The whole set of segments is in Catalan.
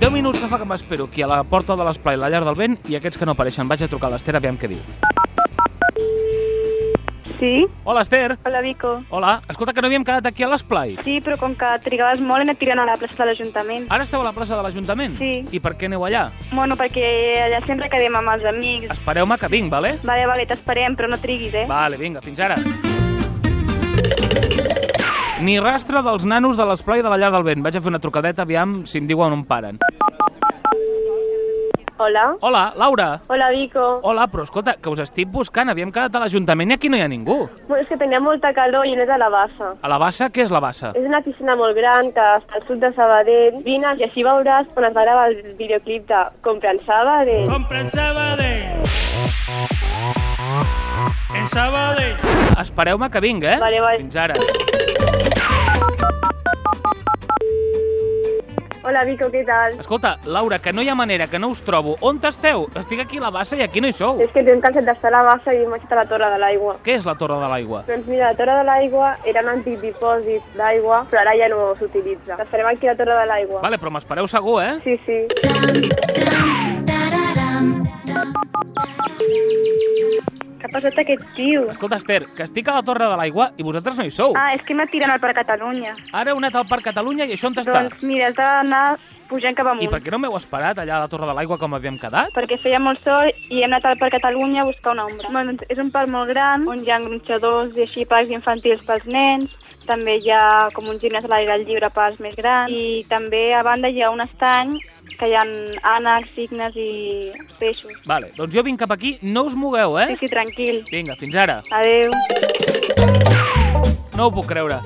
10 minuts que fa que m'espero aquí a la porta de l'esplai, la llar del vent, i aquests que no apareixen. Vaig a trucar a l'Ester, aviam què diu. Sí? Hola, Ester! Hola, Vico. Hola, escolta, que no havíem quedat aquí a l'esplai. Sí, però com que trigaves molt he anat tirant a la plaça de l'Ajuntament. Ara esteu a la plaça de l'Ajuntament? Sí. I per què aneu allà? Bueno, perquè allà sempre quedem amb els amics. Espereu-me que vinc, vale? Vale, vale, t'esperem, però no triguis, eh? Vale, vinga, fins ara. Ni rastre dels nanos de l'esplai de la llar del vent. Vaig a fer una trucadeta, aviam si em diuen on paren. Hola. Hola, Laura. Hola, Vico. Hola, però escolta, que us estic buscant. Havíem quedat a l'Ajuntament i aquí no hi ha ningú. Bueno, és que tenia molta calor i anés a la bassa. A la bassa, què és la bassa? És una piscina molt gran que està al sud de Sabadell. Vine i així veuràs on es va gravar el videoclip de Compra en Sabadell. Compren Sabadell. En Sabadell. Espereu-me que vinc, eh? Vale, vale. Fins ara. Hola, Vico, què tal? Escolta, Laura, que no hi ha manera, que no us trobo. On esteu? Estic aquí a la bassa i aquí no hi sou. És que tinc cansat d'estar a la bassa i m'he anat a la torre de l'aigua. Què és la Torre de l'Aigua? Doncs mira, la Torre de l'Aigua era un antic dipòsit d'aigua, però ara ja no s'utilitza. Estarem aquí a la Torre de l'Aigua. Vale, però m'espereu segur, eh? Sí, sí. Què ha passat aquest tio? Escolta, Esther, que estic a la Torre de l'Aigua i vosaltres no hi sou. Ah, és que m'ha tirat al Parc Catalunya. Ara heu anat al Parc Catalunya i això on està? Doncs mira, has d'anar pujant cap I amunt. per què no m'heu esperat allà a la Torre de l'Aigua com havíem quedat? perquè feia molt sol i hem anat al Parc Catalunya a buscar una ombra. Bueno, doncs és un parc molt gran on hi ha gronxadors i així parcs infantils pels nens, també hi ha com un gimnàs a l'aire lliure pels més grans i també a banda hi ha un estany que hi ha ànecs, cignes i peixos. Vale, doncs jo vinc cap aquí, no us mogueu, Sí, eh? sí, tranquil. Vinga, fins ara. Adeu. No ho puc creure.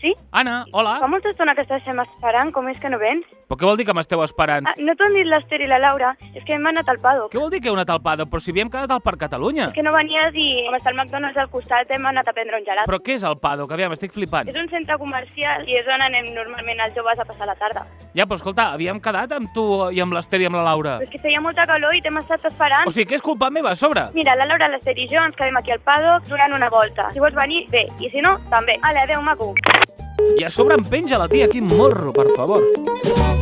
Sí? Ana, hola. molta estona que estem esperant? Com és que no vens? Ah, Però què vol dir que m'esteu esperant? no t'ho han dit l'Ester i la Laura, és que hem anat al Pado. Què vol dir que heu anat al Pado? Però si havíem quedat al Parc Catalunya. no venies i, com està el McDonald's al costat, hem anat a prendre un gelat. Però què és el Pado? Que aviam, estic flipant. És un centre comercial i és on anem normalment els joves a passar la tarda. Ja, però escolta, havíem quedat amb tu i amb l'Ester i amb la Laura. Però és que feia molta calor i t'hem estat esperant. O sigui, que és culpa meva, a sobre. Mira, la Laura, l'Ester i jo ens quedem aquí al paddock donant una volta. Si vols venir, bé, i si no, també. Ale, adeu, maco. I a sobre em penja la tia, quin morro, per favor.